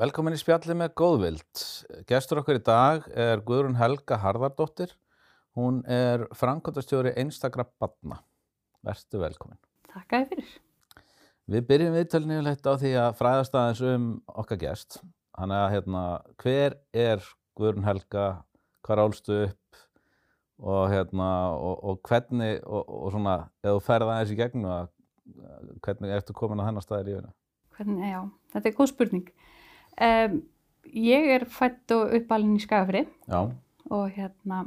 Velkomin í spjallið með Góðvild. Gestur okkur í dag er Guðrún Helga Harðardóttir. Hún er framkvæmtastjóri einstakra batna. Vertu velkomin. Takk að þið fyrir. Við byrjum viðtölinu yfirleitt á því að fræðast aðeins um okkar gest. Þannig að hérna, hver er Guðrún Helga, hvað rálstu upp og, hérna, og, og hvernig, og, og svona, ef þú ferð aðeins í gegnum það, hvernig ertu komin á hennar stað í lífinu? Hvernig, já, þetta er góð spurning. Um, ég er fætt og uppalinn í Skagafri Já, og hérna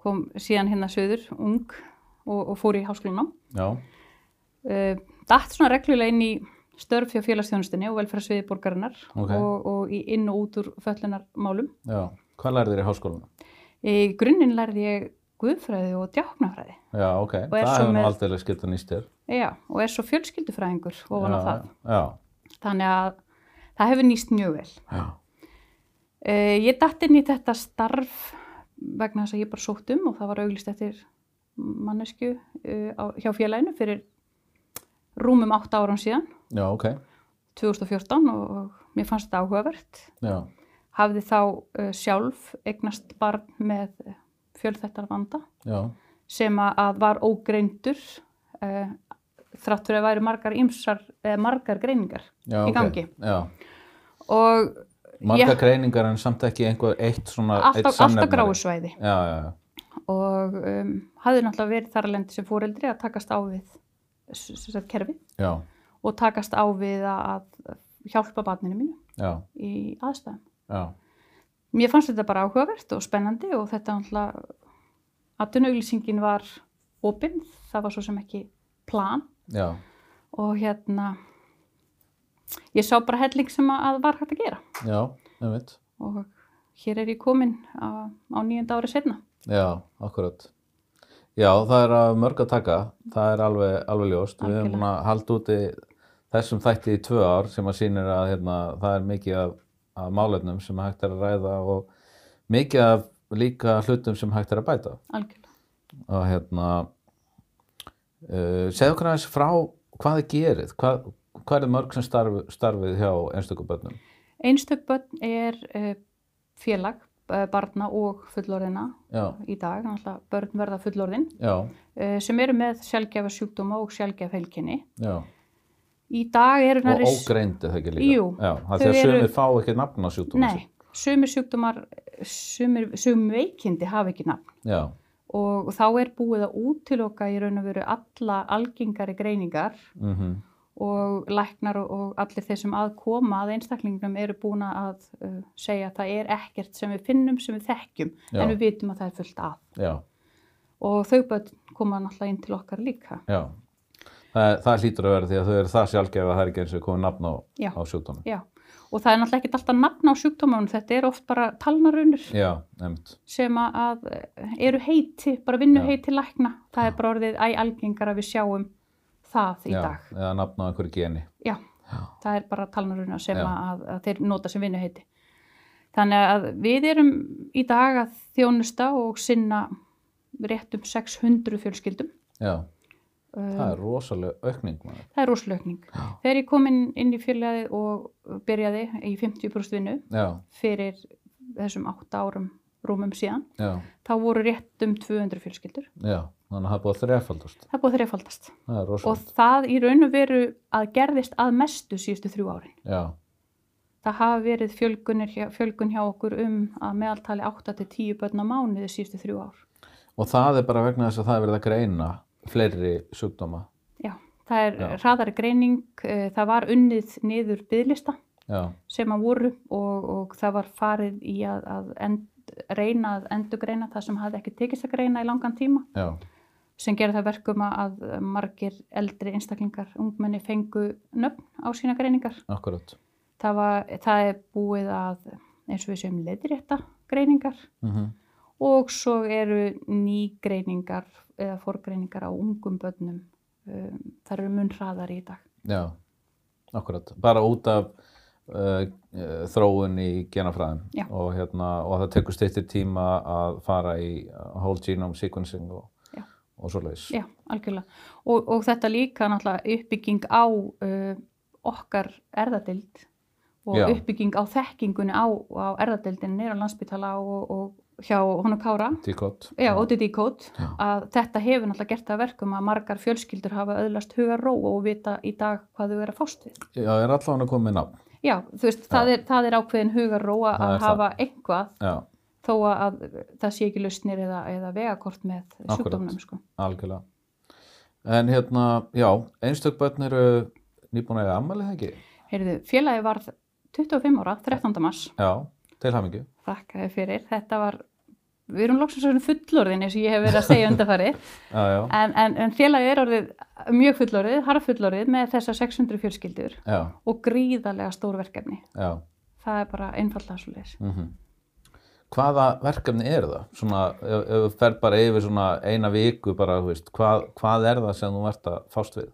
kom síðan hérna söður, ung og, og fór í háskólinám. já, Uh, datt svona reglulega inn í störf hjá félagsþjónustinni og velferðsviði borgarinnar Ok. og, og í inn og út úr föllunarmálum. já. Hvað lærið þér í háskólanum? Í grunninn lærði ég guðfræði og djáknafræði. Já, ok. er Það svo hefur nú með- aldrei skipta nýst þér. Já, og er svo fjölskyldufræðingur ofan á það. Já, Þannig að það hefur nýst mjög vel. já, Uh, ég datt inn í þetta starf vegna þess að ég bara sótt um og það var auglist eftir mannesku uh, á, hjá félaginu fyrir rúmum 8 árum síðan, já, ok. 2014 og, og mér fannst þetta áhugavert. Já, Hafði þá uh, sjálf eignast barn með fjölþættar vanda já, sem að, að var ógreindur uh, þrátt fyrir að væri margar, ýmsar, eh, margar greiningar já, ok. í gangi. Já, Og marga Ég- greiningar en samt ekki einhver eitt svona, eitt alltaf, alltaf samnefnari. gráu svæði. Já, já, já, og um, hafði náttúrulega verið þar að lendi sem fóreldri að takast á við s- s- sagt, kerfi já, og takast á við að að hjálpa barninu mínu já, í aðstæðum. já, Mér fannst þetta bara áhugavert og spennandi og þetta náttúrulega aðtunauglýsingin var opinn, það var svo sem ekki plan já, og hérna ég sá bara helling sem að- að var hægt að gera já, einmitt. og hér er ég komin á, á nýjönda ári setna. Já, akkurat. Já, það er að mörg að taka, það er alveg, alveg ljóst. Við erum Algjörlega. búin að halda úti þessum þætti í tvö ár sem að sýnir að hérna, það er mikið af, af málefnum sem hægt er að ræða og mikið af líka hlutum sem hægt er að bæta. Algjörlega. Og hérna, uh, segðu okkur aðeins frá hvað þið gerið, hvað, hvað er mörg sem starf, starfið hjá einstöku börnum? Einstök börn er eh, félag eh, barna og fullorðina Já, í dag, náttúrulega börn verða fullorðin, já, eh, sem eru með sjálfgefa sjúkdóma og sjálfgefa helginni. já. Í dag eru Og nærri... ógreindu það ekki líka. Jú, Já, það þau er því að eru- sumir fá ekki nafn á sjúkdóma. Nei, sumir sjúkdómar, sumir, sumir veikindi hafa ekki nafn Já, og þá er búið að útiloka í raun og veru alla algengari greiningar mhm. og læknar og, og allir þeir sem að koma að einstaklingum eru búin að uh, segja að það er ekkert sem við finnum, sem við þekkjum, Já. en við vitum að það er fullt af. Já, og þau börn koma náttúrulega inn til okkar líka. já. Það, það hlýtur að vera því að þau eru það sjálfgefið að það er ekki eins og komið nafn á, Já. á sjúkdómi. Já, og það er náttúrulega ekkert alltaf nafn á sjúkdómanum, þetta er oft bara talnarunur Já, nefnt. sem að- að eh, eru heiti, bara vinnu heiti lækna. Það er bara orðið æ algengar að við sjáum það í já, dag. Eða nafn á einhverju geni. Já, Já. það er bara talnaruna sem Já. að, að þeir nota sem vinnu heiti. Þannig að við erum í dag að þjónusta og sinna rétt um 600 fjölskyldum. Já, Um, það er rosalega aukning maður. Það er rosalökning. Þegar ég kom inn, inn í félagið og byrjaði í 50% vinnu Já, fyrir þessum 8 árum rúmum síðan, já, þá voru rétt um 200 fjölskyldur. já. Þannig að það er búið að þrefaldast. Það er búið að þrefaldast. Það er Og rosalega. það í raun og veru að gerðist að mestu síðustu þrjú árin. Já, Það hafa verið fjölgunir hjá, fjölgun hjá okkur um að meðaltali 8-10 börn á mánuði síðustu þrjú ár. og það er bara vegna þess að það er verið að greina fleiri sjúkdóma. Já, það er Já. hraðari greining, eh, það var unnið niður byðlista. Já, sem að voru og, og það var farið í að, að end, reyna að endugreina það sem hafði ekki tekist að greina í langan tíma já, sem gerði það verkum að að margir eldri einstaklingar, ungmenni fengu nöfn á sína greiningar. akkurat. Það, var, það er búið að eins og við séum leiðrétta greiningar Mm og svo eru ný greiningar eða forgreiningar á ungum börnum. Um, það eru mun hraðar í dag. Já, akkurat. Bara út af uh, uh, þróun í genafræðin Já. og, hérna, og það tekur styrtir tíma að fara í uh, whole genome sequencing og, Já. og svoleiðis. Já, algjörlega. Og, og þetta líka náttúrulega uppbygging á uh, okkar erðadild og Já. uppbygging á þekkingunni á, á erðadeildinni á landsbytala og, og hjá honum Kára, Tíkot. já, ODD-kót, Já. að þetta hefur náttúrulega gert það að verkum að margar fjölskyldur hafa öðlast hugarró og vita í dag hvað þau eru að fást við. Já, er allan að koma með nafn. Já, þú veist, það er, það er ákveðin hugarró að Það er það. hafa eitthvað Já, þó að það sé ekki lausnir eða, eða vegakort með Akkúrat. sjúkdómnum, sko. algjörlega. En hérna, já, einstök börn eru nýbúin að eiga ammælið ekki? Heyrðu, félagi varð 25 ára, 13. mars, Já, til hamingju. þakkaði fyrir. Þetta var, við erum loksins orðin fullorðin eins og ég hef verið að segja undarfarið, Já, já, en, en, en félagi er orðið mjög fullorðið, harfullorðið með þessar 600 fjölskyldur já, og gríðarlega stór verkefni. já. Það er bara einfallega svo leiðis. Mm Hvaða verkefni er það? Svona, ef, ef þú fer bara yfir svona eina viku bara, þú veist, hvað, hvað er það sem þú ert að fást við?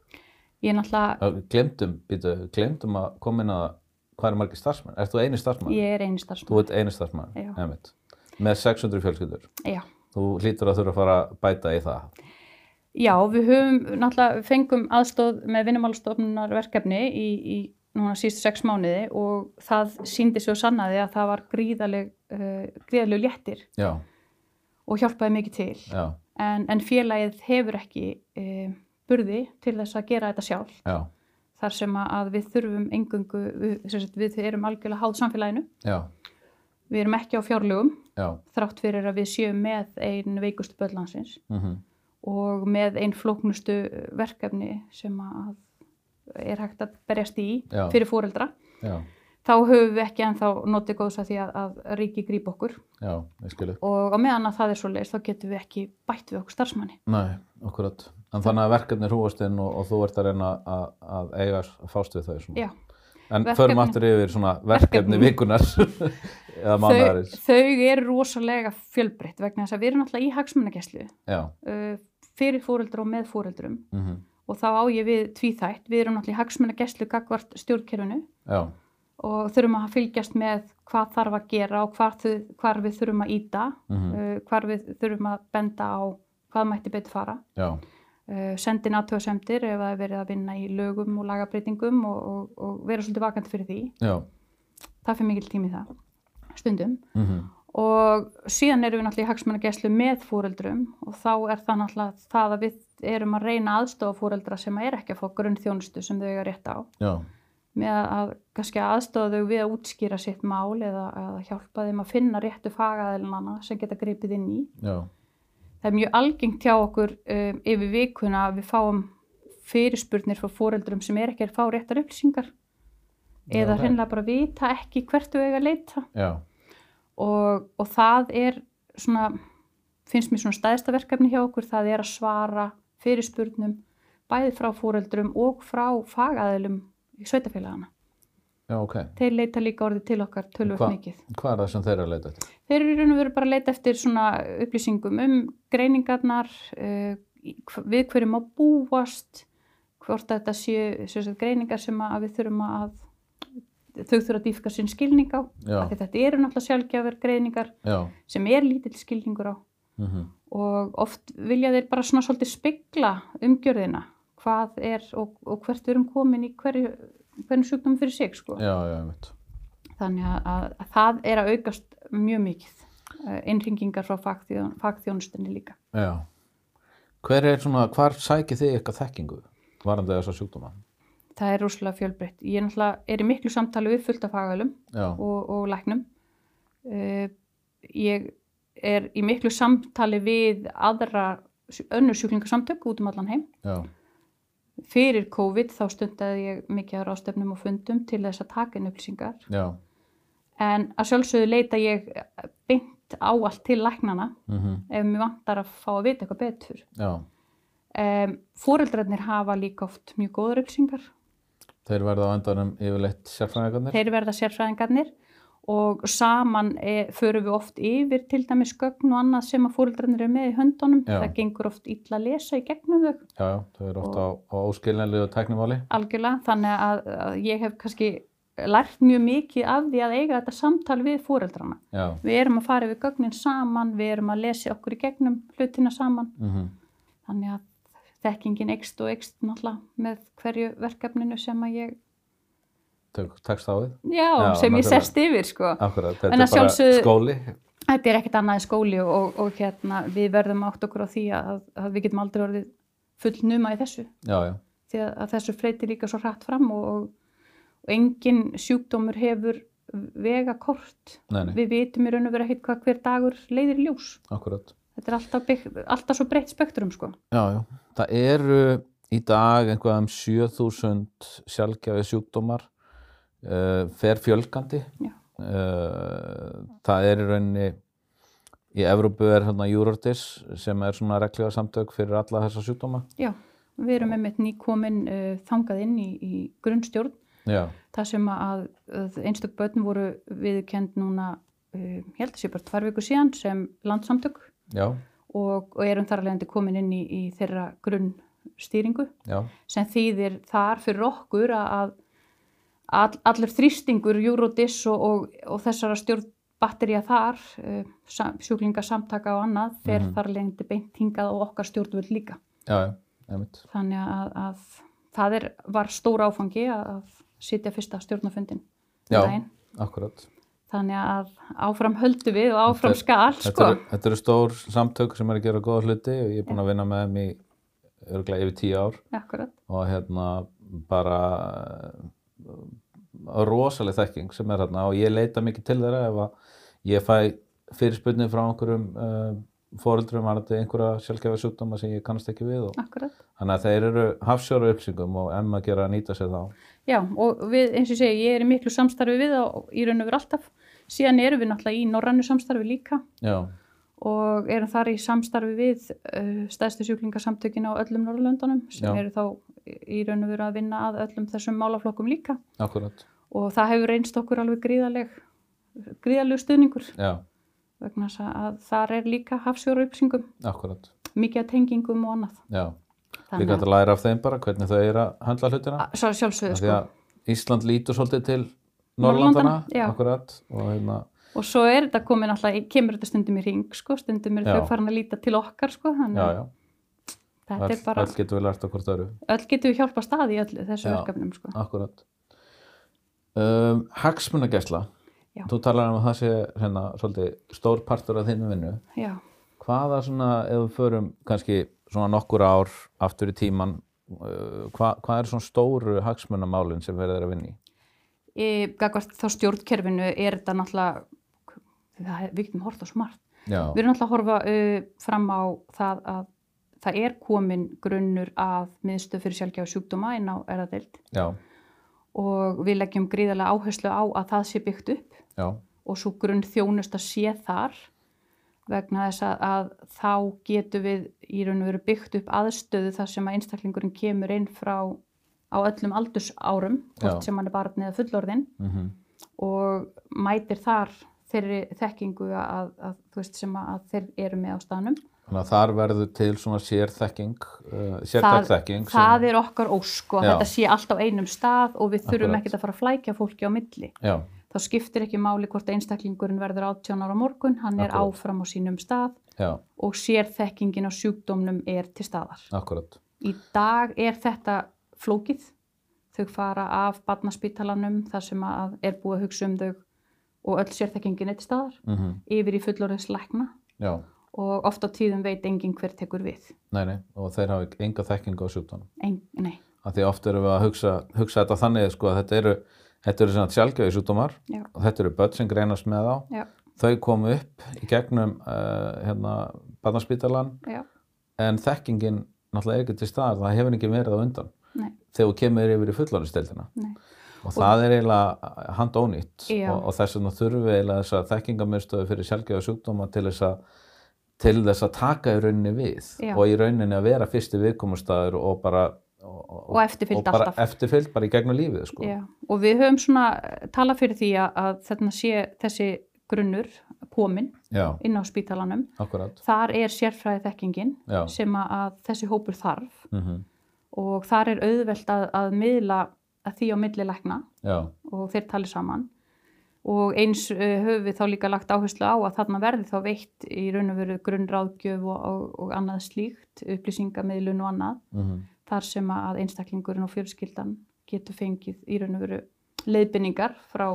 Ég er náttúrulega, Ö, Glemdum, býtu, glemdum að koma inn að hvað eru margir starfsmenn? Ert þú eini starfsmenn? ég er einu starfsmann. Þú ert eini starfsmenn, Já. nefnt. Með 600 fjölskyldur. Já. Þú hlýtur að þurfa að fara að bæta í það. Já, við höfum náttúrulega fengum aðstóð með vinnumálstofnunar verkefni í, í núna síst sex mánuði og það síndi svo sannaði að það var gríðaleg, uh, gríðaleg léttir Já, og hjálpaði mikið til. já, En, en félagið hefur ekki uh, burði til þess að gera þetta sjálf já, þar sem að- að við þurfum engungu, við, sem sagt, við erum algjörlega háð samfélaginu, já, við erum ekki á fjárlögum já, þrátt fyrir að við séum með einn veikustu börnlandsins. mhm, og með einn flóknustu verkefni sem að er hægt að berjast í Já. fyrir fóreldra já, þá höfum við ekki ennþá notið góðs að því að, að ríki grýp okkur já, ég skilu. og á meðan að það er svo leiðis þá getum við ekki bætt við okkur starfsmanni. Nei, akkurat. En þannig að verkefni er húastinn og, og þú ert að reyna að, að eiga að fást við þau svona. Já. En Verkefni- förum aftur yfir svona verkefni, Verkefni. vikunar eða Þau, mánaðarins. þau eru rosalega fjölbreytt vegna þess að við erum alltaf í hagsmunagesslu Já, uh, fyrir fóreldra og með fóreldrum mhm, og þá á ég við tvíþætt. Við erum alltaf í hagsmunagesslu gagvart stjórnkerfinu já, og þurfum að fylgjast með hvað þarf að gera og hvar, þau, hvar við þurfum að íta, mhm, uh, hvar við þurfum að benda á hvað mætti betur fara. já, Uh, sendin aðtöðasemdir ef það er verið að vinna í lögum og lagabreitingum og, og, og vera svolítið vakandi fyrir því. já, Það fyrir mikil tími í það, stundum. mhm, Og síðan erum við náttúrulega í hagsmunagesslu með fóreldrum og þá er það náttúrulega það að við erum að reyna aðstofa fóreldra sem er ekki að fá grunnþjónustu sem þau eiga rétt á já, með að kannski aðstofa þau við að útskýra sitt mál eða að hjálpa þeim að finna réttu fagaðilnana sem geta gripið inn í. já, Það er mjög algengt hjá okkur um, yfir vikuna að við fáum fyrirspurnir frá foreldrum sem er ekki að fá réttar upplýsingar Já, eða nei. hreinlega bara vita ekki hvert þau eiga að leita já, og, og það er svona, finnst mér svona stæðsta verkefni hjá okkur, það er að svara fyrirspurnum bæði frá foreldrum og frá fagaðilum í sveitafélagana já, ok. þeir leita líka orðið til okkar Hva- tölvöld mikið. Hvað er það sem þeir eru að leita eftir? Þeir eru í raun og veru bara að leita eftir svona upplýsingum um greiningarnar, uh, í- hv- við hverjum að búast, hvort að þetta séu sem sagt, greiningar sem að við þurfum að, þau þurfa að dýfka sinn skilning á, Já, af því þetta eru náttúrulega sjálfgjafir greiningar já, sem er lítill skilningur á mhm, og oft vilja þeir bara svona svolítið spegla umgjörðina, hvað er og, og hvert við erum komin í hverju, hvernig sjúkdóm fyrir sig sko já, já, ég veit. þannig að, að, að það er að aukast mjög mikið eh, innringingar frá fagþjón, fagþjónustinni líka. Já. Hver er svona, hvar sækið þið eitthvað þekkingu varandi þessa sjúkdóma? Það er rúslega fjölbreytt. Ég náttúrulega er í miklu samtali við fullt af fagalum Já, og, og læknum. Uh, ég er í miklu samtali við aðra sj- önnur sjúklingasamtök út um allan heim. já, Fyrir COVID þá stundaði ég mikið að rástefnum og fundum til þess að taka inn upplýsingar. já, En að sjálfsögðu leita ég eh, beint á allt til læknana mhm, ef mér vantar að fá að vita eitthvað betur. já. Um, Fóreldrarnir hafa líka oft mjög góðar upplýsingar. Þeir verða á endanum yfirleitt sérfræðingarnir? Þeir verða sérfræðingarnir og saman e, förum við oft yfir til dæmis gögn og annað sem að fóreldrarnir eru með í höndunum. Já. Það gengur oft illa að lesa í gegnum þau Já, já, þau eru oft á, á óskiljanlegu tæknimáli. algjörlega. Þannig að, að ég hef kannski lært mjög mikið af því að eiga þetta samtal við fóreldrarna. Já, Við erum að fara yfir gögnin saman, við erum að lesa okkur í gegnum hlutina saman. mhm, Þannig að þekkingin ekst og ekst náttúrulega með hverju verkefninu sem að ég tekst á við. já, Já, sem nákvæmlega. ég sest yfir sko. Akkurat, En þetta er að bara sjálfsögðu- skóli. Þetta er ekkert annað en skóli og, og, og hérna, við verðum átt okkur á því að, að við getum aldrei orðið fullnuma í þessu. Já, já, Því að, að þessu freyti líka svo hratt fram og, og, og engin sjúkdómur hefur vega kort. nei, nei, Við vitum í raun og veru ekkert hvað hver dagur leiðir í ljós. akkurat. Þetta er alltaf, bygg, alltaf svo breytt spektrum sko. Já, já. Það eru í dag einhvað um 7000 sjálfgjafi sjúkdómar, uh, fer fjölgandi. Já. Uh, það er í rauninni, í Evrópu er hérna Eurodis sem er svona reglega samtök fyrir alla þessa sjúkdóma. Já, við erum einmitt nýkomin uh, þangað inn í, í grunnstjórn Já, þar sem að, að einstök börn voru viðkend núna, uh, ég held að sé bara tvær viku síðan sem landsamtök já, og, og erum þar alvegandi komin inn í, í þeirra grunnstýringu já, sem þýðir þar fyrir okkur að, að all, allur þrýstingur, Eurodis og, og, og þessara stjórnbatterja þar, uh, sam, sjúklingasamtaka og annað, fer mm Mhm. -hmm. þar alvegandi beint hingað og okkar stjórnvöld líka. já, já, einmitt. Þannig að, að það er, var stór áfangi að, að sitja fyrsta stjórnafundin. Já, akkurat. Þannig að áfram höldu við og áfram Þetta- skal, Þetta sko. eru, þetta eru stór samtök sem er að gera góða hluti og ég er búin að vinna með þeim í örgulega yfir tíu ár Akkurat. og hérna bara eh, rosaleg þekking sem er hérna og ég leita mikið til þeirra ef að ég fæ fyrirspunni frá einhverjum uh, foreldrum varandi einhverja sjálfgefa sjúkdóma sem ég kannast ekki við og Akkurat. þannig að þeir eru hafsjóru upplýsingum og emma gera að nýta sér þá. Já, og við, eins og ég segi, ég er í miklu samstarfi við og í raun og veru alltaf. Síðan erum við náttúrulega í norrannu samstarfi líka Já, og erum þar í samstarfi við uh, stæðstu sjúklingasamtökin á öllum Norrlöndunum sem Já. eru þá í raun og veru að vinna að öllum þessum málaflokkum líka akkurat. og það hefur reynst okkur alveg gríðaleg, gríðalegu stuðningur. Já, vegna þess að þar er líka hafsjóru upplýsingum, akkurat. mikið af tengingum og annað. Já, líka Þannig hægt að læra af þeim bara hvernig þau eru að höndla hlutina. að svo sjálfsögðu Af því sko. að Ísland lítur svolítið til Norðurlandana, Norrlandana, já. akkurat, og hérna, Og svo er þetta komin alltaf, kemur þetta stundum í ring sko, stundum er Já. þau farin að líta til okkar sko, þannig já, að já, þetta öll, er bara, öll getum við lært á hvort öru, öll getum við hjálpa staði í öllu þessu Já. verkefnum sko. akkurat. Um, Hagsmunagæsla, Já. þú talar um að það sé hérna svolítið stór partur af þinnu vinnu. Já, Hvaða svona, ef við förum kannski svona nokkur ár aftur í tíman, uh, hva, hvað er svona stóru hagsmunamálin sem verður að vinni? e, gagvart þá stjórnkerfinu er þetta náttúrulega, það, er- við getum hort á smart. Já, Við erum náttúrulega að horfa uh, fram á það að það er komin grunnur að miðstöð fyrir sjálfgjáð sjúkdóma inn á erðadeild. já, og við leggjum gríðarlega áherslu á að það sé byggt upp já, og svo grunn þjónust að sé þar vegna þess að, að þá getum við í raun og veru byggt upp aðstöðu þar sem að einstaklingurinn kemur inn frá á öllum aldursárum, hvort Já. sem hann er barn eða fullorðinn mhm, og mætir þar þeirri þekkingu að, að þú veist sem að þeir eru með á staðnum. Þannig að þar verður til svona sérþekking, uh, sérþekking. það er okkar ósk og að Já. þetta sé allt á einum stað og við þurfum Akkurat. ekkert að fara að flækja fólki á milli. Já, þá skiptir ekki máli hvort einstaklingurinn verður 18 ára á morgun, hann er Akkúrat. áfram á sínum stað já, og sérþekkingin á sjúkdómnum er til staðar. akkurat. Í dag er þetta flókið, þau fara af barnaspítalanum þar sem að er búið að hugsa um þau og öll sérþekkingin er til staðar, Mm yfir í fullorðins lækna Já, og oft á tíðum veit enginn hver tekur við. nei, nei, og þeir hafa enga þekkingu á sjúkdónum. Eng, nei, Af því oft erum við að hugsa, hugsa þetta þannig, sko, að þetta eru, þetta eru svona sjálfgjöfi sjúkdómar Já. og þetta eru börn sem greinast með þá. já, Þau komu upp í gegnum uh, hérna, barnaspítalan já, en þekkingin náttúrulega er ekki til staðar, það hefur ekki verið á undan nei, þegar þú kemur yfir í fullorðinsteldina. nei, Og, það er eiginlega handónýtt Já. og, og þess vegna þurfum við eiginlega þessa þekkingamöðstöðu fyrir sjálfgjöfa sjúkdóma til þess að til þess að taka í rauninni við Já. og í rauninni að vera fyrsti viðkomustæður og bara og, Og eftirfylgd og bara alltaf. eftirfylgd bara í gegnum lífið sko. já. Og við höfum svona eh, talað fyrir því að, að þarna sé þessi grunnur komin Já, inn á spítalanum akkurat Þar er sérfræði þekkingin Já. sem að- að þessi hópur þarf mm og þar er auðvelt að, að miðla að því á milli lækna Já, og þeir tali saman og eins uh, höfum við þá líka lagt áherslu á að þarna verði þá veitt í raun og veru grunnráðgjöf og, og, og annað slíkt, upplýsingamiðlun og annað mm þar sem að einstaklingurinn og fjölskyldan getur fengið í raun og veru leiðbynningar frá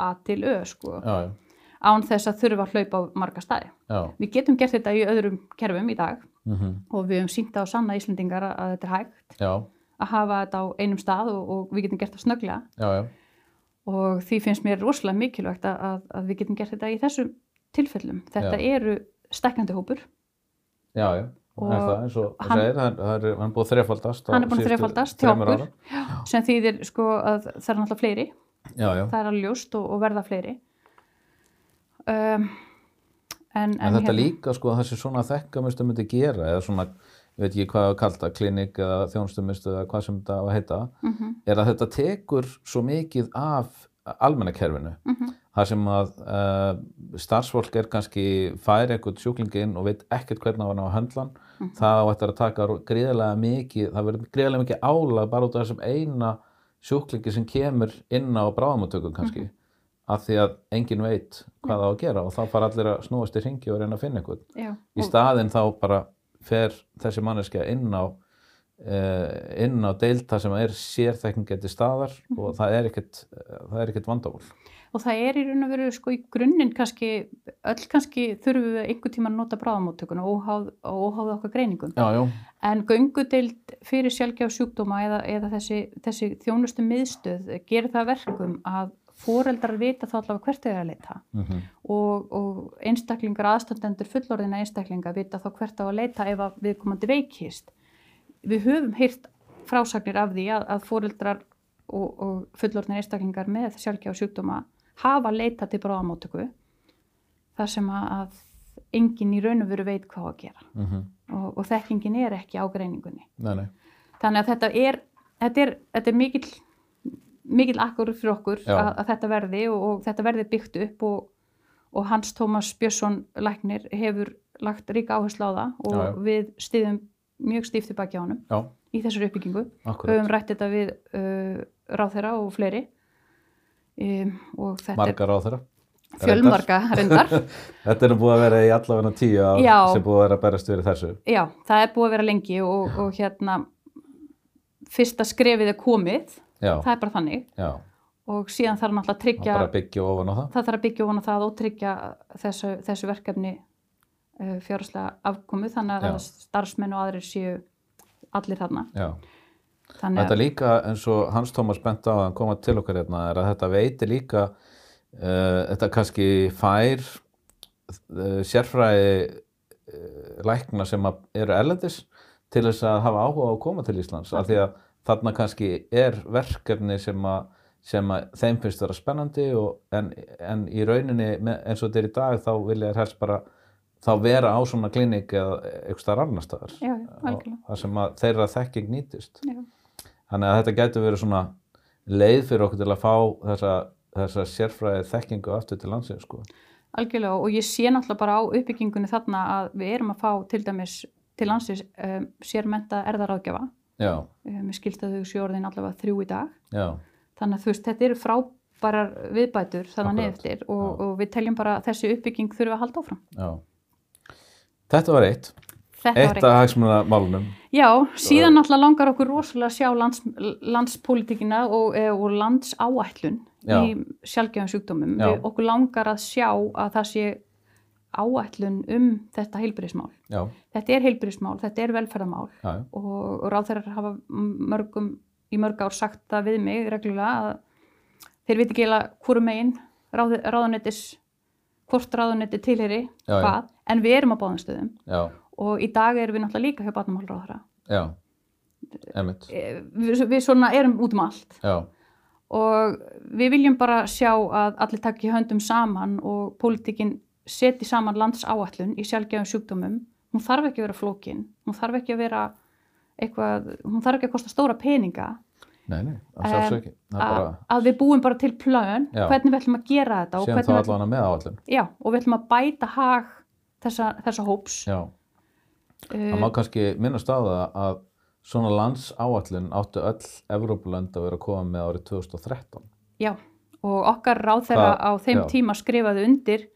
A til Ö sko, já, já, án þess að þurfa að hlaupa á marga staði. já, Við getum gert þetta í öðrum kerfum í dag mhm, og við höfum sínt á sanna Íslendingar að- að þetta er hægt já, að hafa þetta á einum stað og, og við getum gert það snögglega já, já, og því finnst mér rosalega mikilvægt að- að, að við getum gert þetta í þessum tilfellum. Þetta Já. eru stekkandi hópur, já, já. Og er það eins og hann- hann, segir, hann, hann, er, hann er búið að þrefaldast á hann er búin að síðustu þrefaldast hjá þremur okkur, árum. Já, sem þýðir sko að það er náttúrulega fleiri, Já, já, það er alveg ljóst og, og verða fleiri. Um, en, hérna- en þetta líka sko þessi svona þekkamistu myndi gera eða svona, ég veit ekki hvað það kallt að klinik eða þjónustumistu eða hvað sem þetta á að heita, Mm -hmm, er að þetta tekur svo mikið af almennakerfinu mm -hmm, þar sem að uh, starfsfólk er kannski fær eitthvað sjúklingin og veit ekkert hvernig á hann á að höndla hann Mhm. það á eftir að taka ro- gríðarlega mikið það verður gríðarlega mikið álag bara út af þessum eina sjúklingi sem kemur inn á bráðamátökum kannski af því að enginn veit hvað það á að gera og þá fara allir að snúast í ringi og reyna að finna eitthvað já. í Og, staðinn þá bara fer þessi manneskja inn á uh, inn á deilta sem er sérþekking getið staðar Mhm. og það er ekkert, það er ekkert vandamál og það er í raun og veru sko í grunninn kannski, öll kannski þurfum við einhvern tíma að nota bráðamóttökuna óháð, óháð okkar greiningum. Já, já, En göngudeild fyrir sjálfgjáð sjúkdóma eða, eða þessi, þessi þjónustu miðstöð gerir það að verkum að foreldrar vita þá allavega hvert þau er að leita mm -hmm. og, og einstaklingar, aðstandendur fullorðina einstaklinga vita þá hvert á að leita ef að viðkomandi veikist. Við höfum heyrt frásagnir af því að, að foreldrar og, og fullorðina einstaklingar með sjálfgjáð sjúkdóma hafa leita til bráðamóttöku þar sem að, að enginn í raun og veru veit hvað á að gera og, og þekkingin er ekki á greiningunni. mhm. Nei, nei. Þannig að þetta er, þetta er, þetta er mikill, mikill akkur fyrir okkur Já. að, að þetta verði og, og þetta verði byggt upp og, og Hans Tómas Björnsson læknir hefur lagt ríka áherslu á það og Já, já. við stiðum mjög stíft í baki á honum Já, í þessari uppbyggingu. Við akkurat. höfum rætt þetta við uh, ráðherra og fleiri um, og þetta Margar á þeirra. er fjölmarga reyndar. Þetta er nú búið að vera í allavega tíu ár Já. sem búið að vera að berast fyrir þessu. Já, það er búið að vera lengi og, og hérna fyrsta skrefið er komið, Já, það er bara þannig já. og síðan þarf náttúrulega að Og tryggja bara byggja ofan á það. það þarf að byggja ofan á það og tryggja þessu, þessu verkefni uh, fjárháslega afkomu þannig að Já. starfsmenn og aðrir séu allir þarna Já. þannig Þetta líka eins og Hans Tómas bent á að hann koma til okkar hérna er að þetta veiti líka, uh, þetta kannski fær uh, sérfræði uh, lækna sem að eru erlendis til þess að hafa áhuga á að koma til Íslands af því að þarna kannski er verkefni sem að, sem að þeim finnst vera spennandi og, en, en í rauninni með, eins og þetta er í dag þá vilja þér helst bara þá vera á svona klinik eða einhvers staðar annar staðar Já, já, Og algjörlega. þar sem að þeirra þekking nýtist Já. þannig að þetta getur verið svona leið fyrir okkur til að fá þessa, þessa sérfræði þekkingu aftur til landsins sko. algjörlega og ég sé náttúrulega bara á uppbyggingunni þarna að við erum að fá til dæmis til landsins um, sérmenta erðaráðgjafa já, um, ég skildi að þau séu orðin allavega þrjú í dag já, þannig að þú veist þetta eru frábærar viðbætur þannig Akkurat. niður eftir og, Já. og við teljum bara að þessi uppbygging þurfi að halda áfram já Þetta var eitt, Þetta var eitt af hagsmunamálunum Já, síðan náttúrulega langar okkur rosalega að sjá lands, landspólitíkina og, eh, og landsáætlun Já. í sjálfgefum sjúkdómum. Já. Við, okkur langar að sjá að það sé áætlun um þetta heilbyrðismál. Já, Þetta er heilbyrðismál, þetta er velferðamál já, já, og, og ráðherrar hafa mörgum, í mörg ár sagt það við mig reglulega að þeir veit ekki eiginlega hvora megin ráð, ráðunetis, hvort ráðunetti tilheri, Já, já. hvað, en við erum á báðum stöðum já, og í dag erum við náttúrulega líka hjá barnamálráðherra já Einmitt, eh, við, við svona erum út um allt já, og við viljum bara sjá að allir takki höndum saman og pólitíkin seti saman landsáallun í sjálfgefum sjúkdómum hún þarf ekki að vera flókin hún þarf ekki að vera eitthvað, hún þarf ekki að kosta stóra peninga nei, nei, Em, að sjálfsög ekki Það er að, bara, að við búum bara til plön Já. hvernig við ætlum að gera þetta og, séum hvernig þá við ætlum, allan að með áallum já, og við ætlum að bæta hag þessa, þessa hóps Já, uh, það má kannski minnast á það að svona landsáallun áttu öll Evrópulönd að vera að koma með árið 2013 Já, og okkar ráðherra Það- á þeim já. tíma skrifaði undir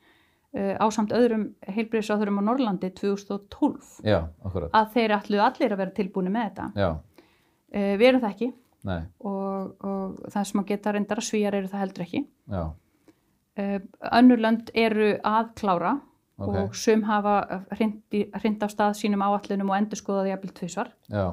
uh, ásamt öðrum heilbriðsráðurum á Norrlandi 2012 Já, akkurat, að þeir ætluðu allir að vera tilbúinu með þetta. já, Uh, við erum það ekki. Nei, og, og það sem að geta reyndar að svíjar eru það heldur ekki. já, Uh, önnur lönd eru að klára ok, og sum hafa hrind af stað sínum áallunum og endurskoðaði jafnvel tvisvar já,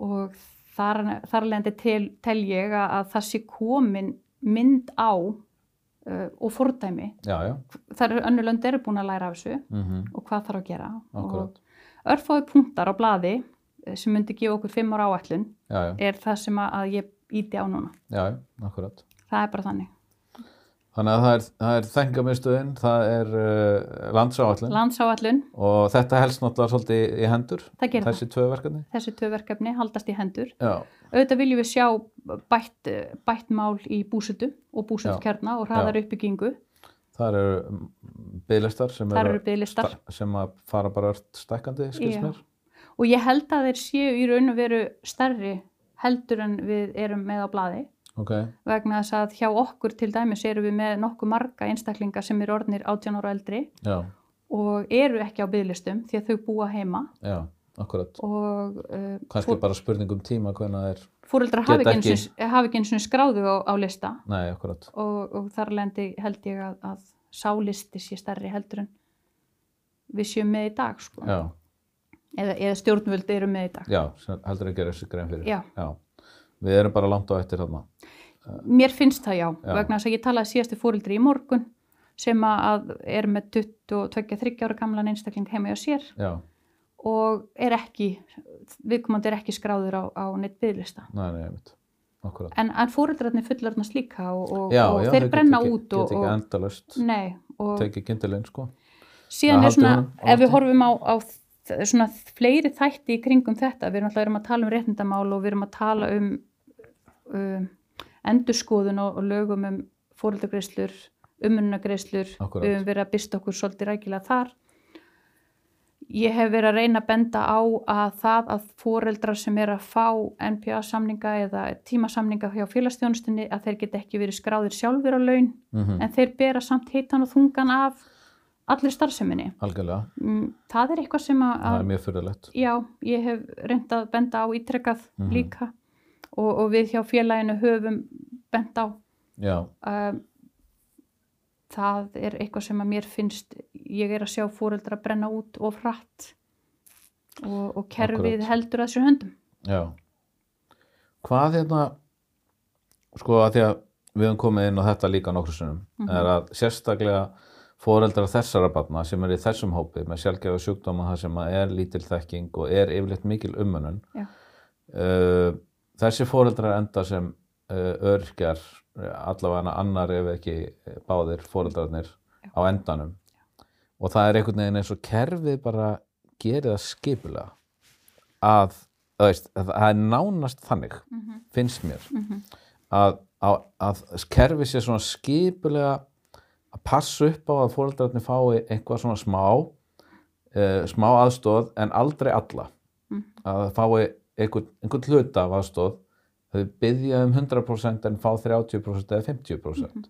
og þar, þar lendi til, tel ég að að það sé komin mynd á uh, og fordæmi. já, já, Þar eru önnur lönd eru búin að læra af þessu mhm, og hvað þarf að gera. akkurat, Og örfáði punktar á blaði eh, sem myndi gefa okkur fimm ára áallun já, já, er það sem að- að ég íti á núna. já, já, akkurat. Það er bara þannig. Þannig að það er, það er þengamistuðin, það er uh, landsáallin Landsáallun, og þetta helst náttúrulega svolítið í hendur, það gerir það. þessi tvö verkefni. Þessi tvö verkefni haldast í hendur. Já, Auðvitað viljum við sjá bætt, bætt mál í búsutum og búsutkjarna og hraðar uppbyggingu. það eru bygglistar sem, Þar eru bygglistar. sta- sem að fara bara ört stækkandi, skilst Já. mér. Og ég held að þeir séu í raun og veru stærri heldur en við erum með á blaði Ok, vegna þess að hjá okkur til dæmis erum við með nokkuð marga einstaklinga sem eru orðnir 18 ára og eldri já, og eru ekki á bygglistum því að þau búa heima já, akkurat. og uh, Kannski bara spurning um tíma hvernig það er, fóreldrar Geta hafi ekki einu ekki- sinni- hafi ekki eins og skráðu á, á lista nei, akkurat. og, og þar lendi held ég að, að sálisti sé stærri heldur en við séum með í dag sko. Já, eða, eða stjórnvöld eru með í dag. já, sem heldur að gera þessi grein fyrir. Já. Við erum bara langt á eftir þarna. Mér finnst það já, Já. vegna þess að ég talaði síðastu fóreldri í morgun sem að er með 22-23 ára gamlan einstakling heima hjá sér Já, og er ekki, viðkomandi er ekki skráður á, á neitt byggðlista. nei, nei, einmitt, akkurat. En, en fóreldrarnir fullorðnast líka og, og, Já, og já, þeir geta brenna ekki- út og, Mm. Geta ekki og endalaust, nei, og tekið kindilinn, sko. Já, síðan er haltu svona, honum, ef við haltu. horfum á, á þ- svona fleiri þætti í kringum þetta, við erum alltaf erum að tala um réttindamál og við erum að tala um, um endurskoðun og, og lögum um fóreldragreislur, umununagreislur, Akkúrat. við höfum verið að byrsta okkur svolítið rækilega þar. Ég hef verið að reyna að benda á að það að fóreldrar sem er að fá NPA-samninga eða tímasamninga hjá félagsþjónustinni að þeir get ekki verið skráðir sjálfur á laun Mhm, en þeir bera samt hitan og þungan af allir starfseminni. Algjörlega, Mm, Það er eitthvað sem að, það er að mjög fyrirlegt. já, ég hef reynd að benda á ítrekkað Mhm. líka og, og við hjá félaginu höfum bent á. Já, Um, það er eitthvað sem að mér finnst, ég er að sjá fóreldra brenna út og frætt og, og kerfið Akkúrat. heldur að sér höndum. Já. Hvað hérna, sko að því að við höfum komið inn á þetta líka nokkru sinnum, Mhm. er að sérstaklega foreldrar þessara barna sem eru í þessum hópi með sjálfgefa sjúkdóma þar sem að er lítil þekking og er yfirleitt mikil umönun, Já. uh, þessi foreldrar enda sem uh, örkjar allavega annar ef ekki báðir foreldrarnir Já. á endanum. Og það er einhvern veginn eins og kerfið bara gerir það skipulega að þú veist, það það er nánast þannig finnst mér Mhm. að, að, að kerfi sé svona skipulega að passa upp á að fóreldrarnir fái eitthvað svona smá uh, smá aðstóð en aldrei alla Mhm. að það fái einhvern, einhvern hluta af aðstóð þau byggja um 100% en fá 30% eða 50%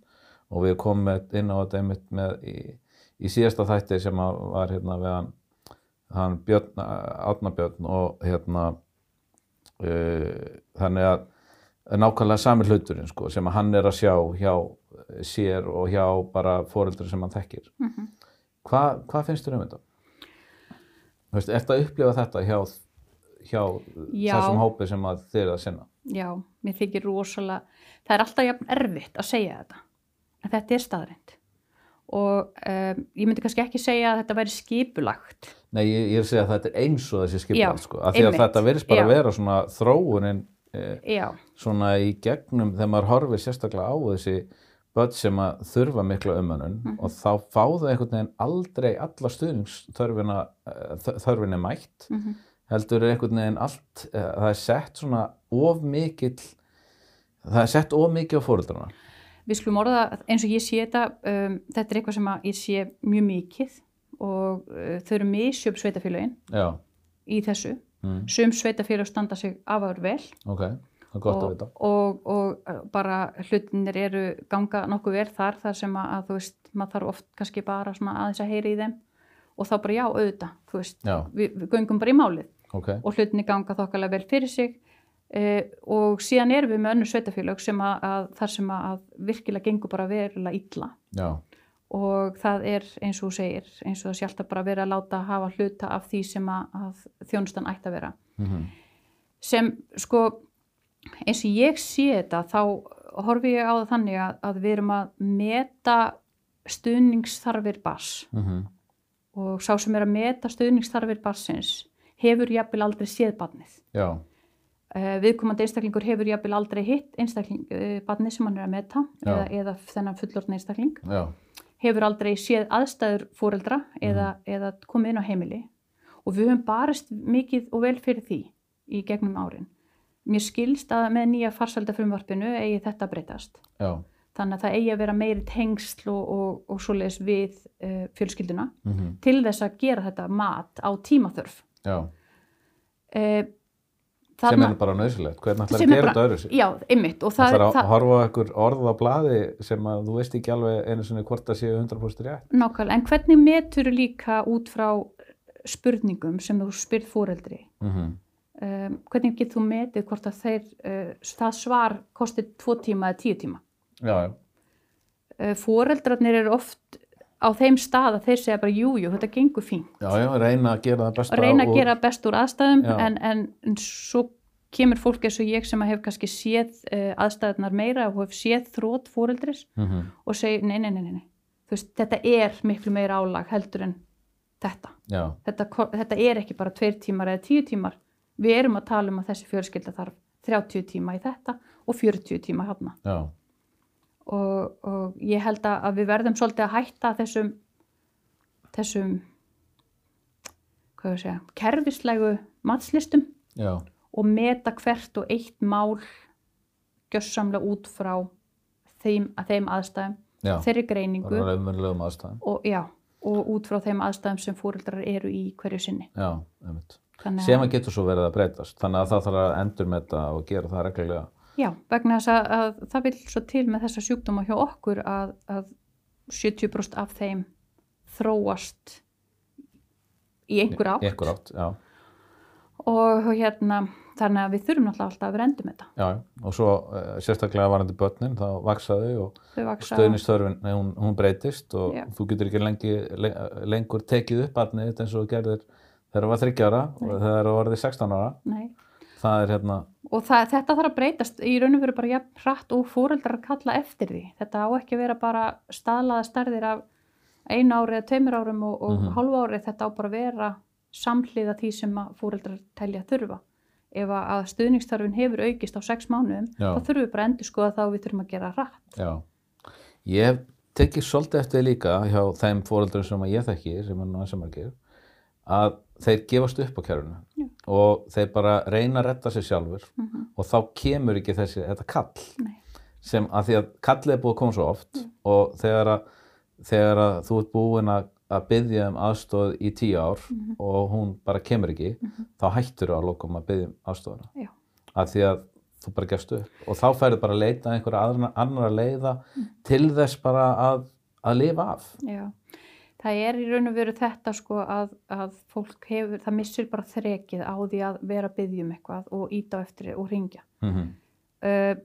og við komum með- inn á þetta einmitt með í, í síðasta þætti sem að var hérna við hann hann Björn, Átna Björn og hérna uh, þannig að nákvæmlega sami hluturinn sko, sem að hann er að sjá hjá eh, sér og hjá bara foreldri sem hann þekkir. Mm -hmm. Hva, hvað finnst þér um þetta? Þú Veist, eftir að upplifa þetta hjá, hjá Já. þessum hópi sem að þið er að sinna? Já, mér þykir rosalega, það er alltaf jafn erfitt að segja þetta, en þetta er staðrind. Og um, ég myndi kannski ekki segja að þetta væri skipulagt. Nei, ég, ég er að segja að þetta er eins og þessi Já, skipulegt sko, að því að einmitt. þetta verðist bara Já. að vera svona þróunin eh, Já, svona í gegnum þegar maður horfir sérstaklega á þessi börn sem að þurfa mikla umönnun Mhm. og þá fá þau einhvern veginn aldrei alla stuðningsþörfina eh, þ- þörfinni mætt mm heldur er einhvern veginn allt eh, það er sett svona of mikill það er sett of mikið á fóröldrana við skulum orða að eins og ég sé þetta, um, þetta er eitthvað sem að ég sé mjög mikið og uh, þau eru misjöf sveitafélagin Já, í þessu. mm. Sum sveitafélag standa sig afar vel ok, það er gott að og, vita og, og uh, bara hlutinir eru ganga nokkuð vel þar þar sem að, að þú veist, maður þarf oft kannski bara svona aðeins að heyra í þeim og þá bara já, auðvitað, þú veist, Já, við, við göngum bara í málið ok, og hlutinni ganga þokkalega vel fyrir sig Uh, og síðan erum við með önnur sveitafélög sem að, að þar sem að virkilega gengur bara verulega illa já, og það er eins og þú segir, eins og það sé alltaf bara verið að láta hafa hluta af því sem að, að þjónustan ætti að vera. mhm, Sem sko, eins og ég sé þetta þá horfi ég á það þannig að, að við erum að meta stuðningsþarfir bars mhm, og sá sem er að meta stuðningsþarfir barsins hefur jafnvel aldrei séð barnið. já, Eh, viðkomandi einstaklingur hefur jafnvel aldrei hitt einstakling, uh, barni sem hann er að meta Já. eða, eða þennan fullorðin einstakling já, hefur aldrei séð aðstæður fóreldra eða, Mhm. eða komið inn á heimili og við höfum barist mikið og vel fyrir því í gegnum árin. Mér skilst að með nýja farsældafrumvarpinu eigi þetta að breytast. já, Þannig að það eigi að vera meiri tengsl og, og, og svoleiðis við uh, fjölskylduna mhm, til þess að gera þetta mat á tímaþörf. já, Uh, sem er bara nöðsilegt, hvernig ætlar Sem að er gera bara- þetta öðru sér? Já, einmitt. og Það Það er, að það, horfa á einhver orð á blaði sem að þú veist ekki alveg einu sinni hvort það séu 100% rétt. nákvæmlega. En hvernig metur líka út frá spurningum sem þú spyrð fóreldri? Mhm, Um, hvernig getur þú metið hvort að þeir, uh, það svar kostið tvo tíma eða tíu tíma? Já, já, Uh, fóreldrarnir eru oft á þeim stað að þeir segja bara jú, jú, þetta gengur fín. já, já, reyna að gera það besta Að reyna að úr- gera best úr aðstæðum Já. en, en, en svo kemur fólk eins og ég sem að hef kannski séð uh, aðstæðunar meira og hef séð þrótt fóreldris Mhm, og segi nei, nei, nei, nei, nei. Þú veist, þetta er miklu meira álag heldur en þetta. Já, þetta. ko- Þetta er ekki bara tveir tímar eða tíu tímar. Við erum að tala um að þessi fjölskylda þarf 30 tíma í þetta og 40 tíma hérna. já, Og, og ég held að að við verðum svolítið að hætta þessum, þessum, hvað á ég að segja, kerfislegu matslistum já, og meta hvert og eitt mál gjössamlega út frá þeim, að þeim aðstæðum, já. þeirri Það greiningu er umverulegum aðstæðum. og, já, og út frá þeim aðstæðum sem fóreldrar eru í hverju sinni. Já, einmitt. Þannig Sem að getur svo verið að breytast. Þannig að það þarf að endurmeta og gera það reglulega. já, vegna þess að, að það vil svo til með þessa sjúkdóma hjá okkur að, að 70% af þeim þróast í einhver átt, Í Einhver átt, já. og hérna þannig að við þurfum náttúrulega alltaf að vera endum þetta. Já, já. og svo uh, sérstaklega varandi börnin, þá vaksaðu og Þau vaksa, stöðnistörfin, hún, hún breytist og Já. þú getur ekki lengi, le- lengur tekið upp barnið þitt eins og þú gerðir þegar það var 30 ára og þegar það var orðið 16 ára. nei, Það er hérna, og það, þetta þarf að breytast í raun og veru bara jafn hratt og fóreldrar kalla eftir því. Þetta á ekki að vera bara staðlaða stærðir af einu ári eða tveimur árum og, og Mhm. hálfu ári þetta á bara að vera samhliða því sem að fóreldrar telja þurfa. Ef að- að stuðningstarfin hefur aukist á sex mánuðum, Já. þá þurfum við bara að endur skoða það og við þurfum að gera hratt. já. Ég hef tekið svolítið eftir því líka hjá þeim fóreldrum sem að ég þekki, sem er nú aðeins margir, að þeir gefast upp á kærfinu Já. og þeir bara reyna að retta sér sjálfur Mm -hmm. og þá kemur ekki þessi, þetta kall Nei. sem að því að kallið er búið að koma svo oft Mm. og þegar að, þegar að þú ert búin að, að byggja um aðstóð í tíu ár Mhm. og hún bara kemur ekki þá hættur þú að lokum að byggja um aðstóðuna Já. að því að þú bara gefst upp og þá færðu bara að leita einhverja aðra, annara leiða Mm. til þess bara að, að lifa af Já, það er í raun og veru þetta sko að, að fólk hefur, það missir bara þrekið á því að vera að byggja um eitthvað og íta á eftir og ringja. mm -hmm. uh,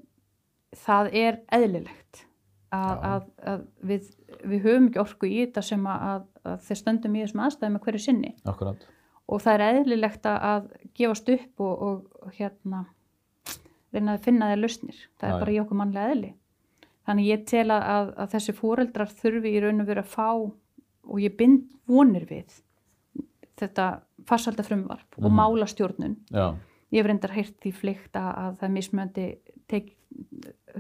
það er eðlilegt að, Já. að, að við, við höfum ekki orku í þetta sem að, að, að þeir stöndum í þessum aðstæðum að hverju sinni Akkurat, og það er eðlilegt að, að gefast upp og, og, og hérna reyna að finna þeir lausnir Já, það er já. bara í okkur mannlega eðli þannig ég tel að, að, að þessi fóreldrar þurfi í raun og veru að fá og ég bind vonir við þetta farsalda frumvarp og Mhm. málastjórnun já, ég hef reyndar heyrt því flykt að, að það er mismöndi tek,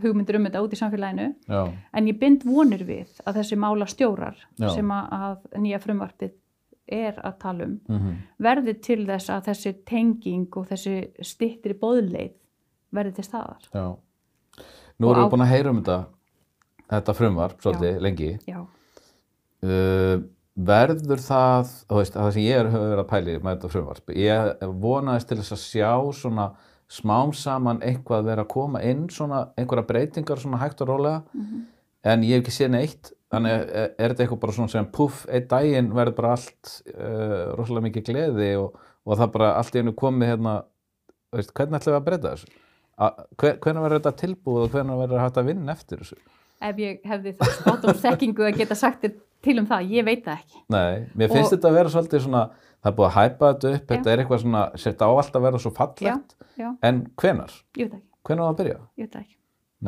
hugmyndir um þetta út í samfélaginu já, en ég bind vonir við að þessi mála stjórar Já. sem að, að nýja frumvarpið er að tala um mm verði til þess að þessi tenging og þessi stittri bóðleið verði til staðar já Nú Og erum við á- búin að heyra um þetta þetta frumvarp, svolítið, lengi já, Uh, verður það, þú veist, það sem ég er hefur verið að pæli með þetta frumvarp, ég vonaðist til þess að sjá svona smám saman eitthvað vera að koma inn svona einhverja breytingar svona hægt og rólega en ég hef ekki séð neitt þannig er, er þetta eitthvað bara svona sem puff, einn daginn verður eh, bara allt uh, rosalega mikið gleði og, og það bara allt í einu komið hérna veist, hvernig ætlum við að breyta þessu? Að, hver, hvernig verður þetta tilbúið og hvernig verður hægt að vinna eftir þessu? ef ég hefði þá spátumstekkingu að geta sagt þér til um það, ég veit það ekki. Nei, mér finnst Og- þetta að vera svolítið svona, það er búið að hæpa þetta upp, Já. þetta er eitthvað svona, þetta á allt að vera svo fallegt, Já, en hvenar? ég veit það ekki, Hvenar á það að byrja? ég veit það ekki.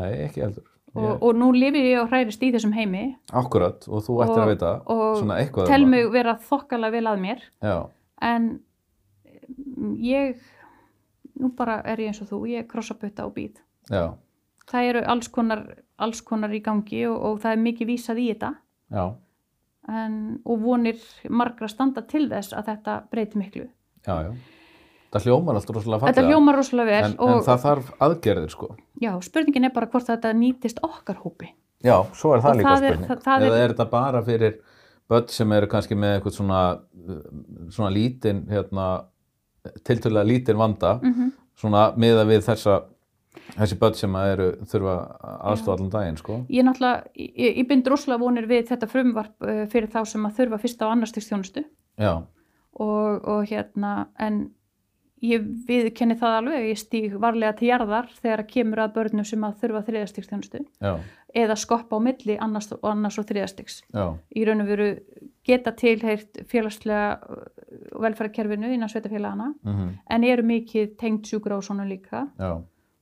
Nei, ekki heldur. Og, Ég, og nú lifir ég og hrærist í þessum heimi akkurat, og þú ættir og- að vita og svona eitthvað. tel um mig vera þokkala vel að mér það. Já, en mm, ég, nú bara er ég eins og þú, ég krossa putta og býð. já, Það eru alls konar, alls konar í gangi og, og það er mikið vísað í þetta já, en, og vonir margra standa til þess að þetta breyti miklu. já, já. Það hljómar alltaf rosalega fallega. Þetta hljómar rosalega vel en, og en það þarf aðgerðir, sko. já, spurningin er bara hvort þetta nýtist okkar hópi. Já, svo er það Og líka það er- spurning. það- það er- Eða er þetta bara fyrir börn sem eru kannski með eitthvað svona, uh, svona lítinn, hérna, tiltölulega lítinn vanda, Mm svona miða við þessa þessi börn sem að eru þurfa aðstofa allan daginn sko Ég náttúrulega, ég, ég bind rosalega vonir við þetta frumvarp eh, fyrir þá sem að þurfa fyrsta og annarstiks þjónustu já, og, og hérna, en ég viðkenni það alveg, ég stíg varlega til jarðar þegar að kemur að börnum sem að þurfa þriðastiks þjónustu já, eða skoppa á milli annars og annars og þriðastiks. já, Í raun og veru geta tilheyrt félagslega eh, velferðarkerfinu innan sveitafélagana mhm, en eru mikið tengd sjúkur á svona líka já,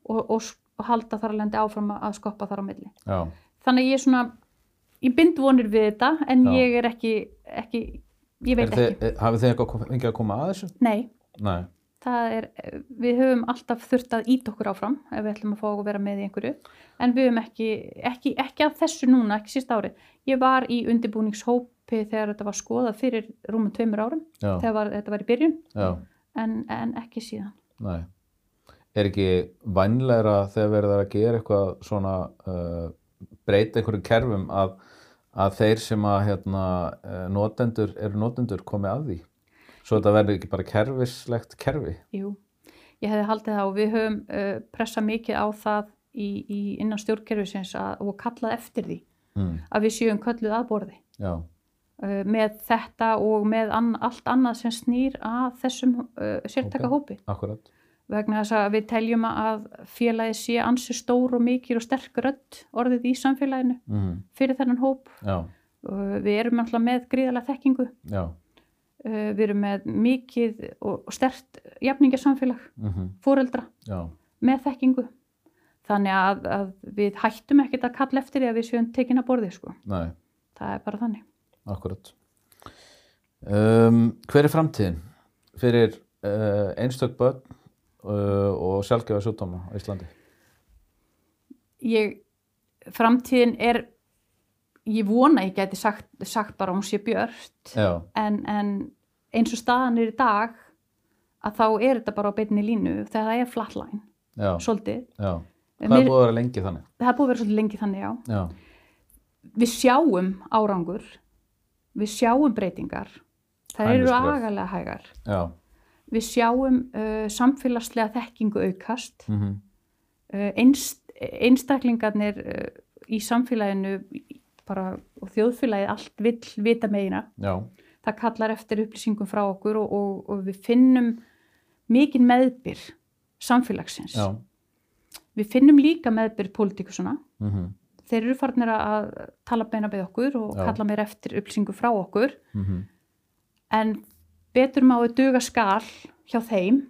og, og, s- og halda þar að lendi áfram að- að skoppa þar á milli. já þannig að ég er svona ég bind vonir við þetta en Já. ég er ekki, ekki ég Er veit þið, ekki, er- hafið þið eitthvað kom- fengið að koma að þessu? nei Nei, það er, við höfum alltaf þurft að íta okkur áfram ef við ætlum að fá að vera með í einhverju en við höfum ekki, ekki, ekki að þessu núna, ekki síst ári ég var í undirbúningshópi þegar þetta var skoðað fyrir rúmum tveimur árum já, þegar var, þetta var í byrjun já, en, en ekki síðan nei Er ekki vænlegra þegar verið er að gera eitthvað svona uh, breyta einhverjum kerfum að, að þeir sem að hérna, eh, notendur, eru notendur komi að því? Svo þetta verður ekki bara kerfislegt kerfi? Jú, ég hefði haldið það og við höfum uh, pressað mikið á það í, í, innan stjórnkerfisins að, og kallað eftir því Mm, að við séum kölluð að borði já, uh, með þetta og með an, allt annað sem snýr að þessum uh, sértaka hópi akkurat, vegna þess að við teljum að félagið sé ansi stór og mikil og sterk rödd orðið í samfélaginu mm, fyrir þennan hóp. já, Uh, við erum alltaf með gríðalega þekkingu, já, uh, við erum með mikið og stert jafningasamfélag, mhm, fóreldra já. með þekkingu. Þannig að, að við hættum ekkert að kalla eftir því að við séum tekin að borði, sko. Nei, Það er bara þannig. akkurat. Um, hver er framtíðin fyrir uh, einstök börn uh, og sjálfgefa sjúkdóma á Íslandi? ég, framtíðin er, ég vona ég geti sagt, sagt bara að hún sé björt, Já, en, en eins og staðan er í dag, að þá er þetta bara á beinni línu þegar það er flatline, já, svolítið. já. Hvað er Mér, búið að vera lengi þannig? það er búið að vera svolítið lengi þannig, já. Já, Við sjáum árangur, við sjáum breytingar, það eru Hænuskref. agalega hægar. já, Við sjáum uh, samfélagslega þekkingu aukast, mhm, Eh, einst, einstaklingarnir eh, í samfélaginu bara, og þjóðfélagið allt vill vita meina. já, Það kallar eftir upplýsingum frá okkur og, og, og við finnum mikinn meðbyr samfélagsins. já, Við finnum líka meðbyr pólitíkusuna. mhm, mhm, Þeir eru farnir að- að tala beina við okkur og Já. kalla mér eftir upplýsingum frá okkur. Mhm. En betur má þau duga skal hjá þeim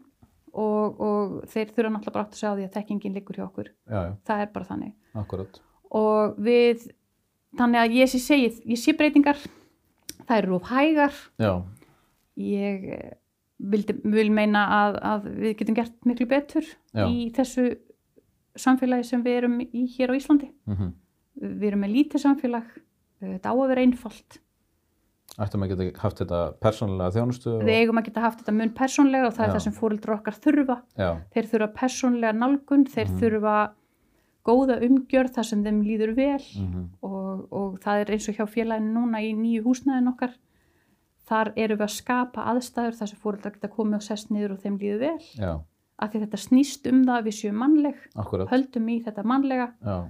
og, og þeir þurfa náttúrulega bara átt að segja á því að þekkingin liggur hjá okkur. já, já, Það er bara þannig. akkurat. og við þannig að ég sé, segi, ég sé breytingar það eru of hægar Já, ég eh, vildi, vil meina að, að við getum gert miklu betur Já. í þessu samfélagi sem við erum í hér á Íslandi mhm. við erum með lítið samfélag eh, þetta á að vera einfalt Ættum að geta haft þetta persónulega þjónustu? Og... við eigum að geta haft þetta mun persónlega og það Já. er það sem fóreldur okkar þurfa Já, þeir þurfa persónlega nálgun þeir Mhm. þurfa góða umgjörð þar sem þeim líður vel mhm, og, og það er eins og hjá félaginu núna í nýju húsnæðin okkar þar erum við að skapa aðstæður þar sem fóreldrar geta komið og sest niður og þeim líðu vel já, af því þetta snýst um það að við séum mannleg akkurat. höldum í þetta mannlega Já,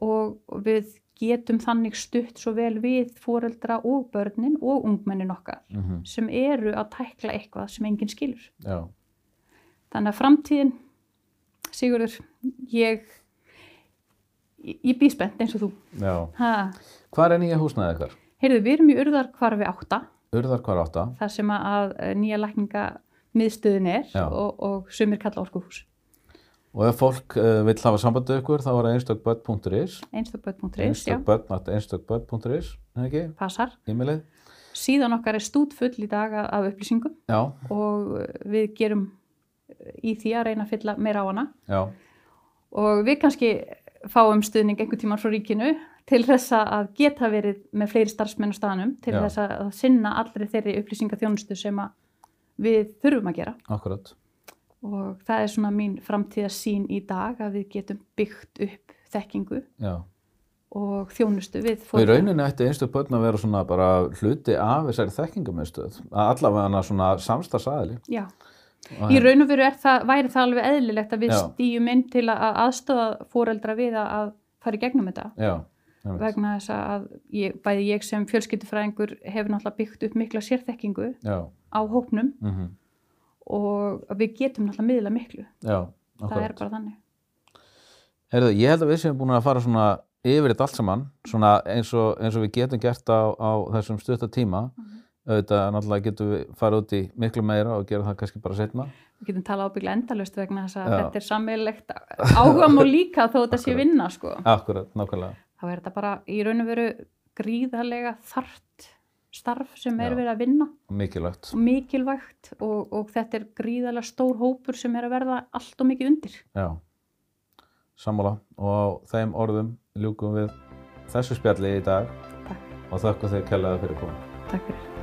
og við getum þannig stutt svo vel við fóreldra og börnin og ungmennin okkar mhm, sem eru að tækla eitthvað sem enginn skilur já, Þannig að framtíðin, Sigurður, ég, ég, ég býð spennt eins og þú. Já. Ha. Hvar er nýja húsnæðið ykkar? Heyrðu, við erum í urðarkvarfi 8, Urðar hvar átta? þar sem að eh, nýja lækninga miðstöðin er Já. og, og sumir kalla orkuhús. Og ef fólk uh, vill hafa sambandið ykkur þá er það einstakbödd.is Einstakböð.is, já, einstakbödd.is einstakbödd.is ekki, passar. e-mailið Síðan okkar er stút full í dag af- af upplýsingum Já, og eh, við gerum eh, í því að reyna að fylla meira á hana. já, og við kannski fáum stuðning einhvern tíman frá ríkinu til þess að geta verið með fleiri starfsmenn á staðanum til Já. þess að að sinna allri þeirri upplýsingaþjónustu sem að við þurfum að gera akkurat og það er svona mín framtíðasín í dag að við getum byggt upp þekkingu Já, og þjónustu við og í foreldra. rauninni ætti einstakbödd að vera svona bara hluti af þessari þekkingamunstöð allavega hana svona samstagsæðili Já, í raun og veru er það, væri það alveg eðlilegt að við Já. stýjum inn til að- að aðstofa foreldra við að- að fara í gegnum þetta. Já, einmitt. vegna þess að ég, bæði ég sem fjölskyldufræðingur hefur náttúrulega byggt upp mikla sérþekkingu já, á hópnum mhm og við getum náttúrulega miðla miklu, Já, það er akkurat. bara þannig. Herðu, ég held að við séum búin að fara svona yfir þetta allt saman, svona eins og, eins og við getum gert á, á þessum stutta tíma. Mhm. Auðvitað náttúrulega getum við farið út í miklu meira og gera það kannski bara setna. Við getum talað ábygglega endalust vegna þess að Já. þetta er sammeilegt áhugamál líka þó þetta sé Akkurat. vinna sko. Akkurat, nákvæmlega. Þá er þetta bara í raun og veru gríðarlega þart starf sem er Já. verið að vinna Og mikilvægt. og mikilvægt og, og þetta er gríðarlega stór hópur sem er að verða allt og mikið undir. Já. Sammála. Og á þeim orðum ljúkum við þessu spjalli í dag Takk, og þakku þeir kærlega fyrir komið. takk fyrir.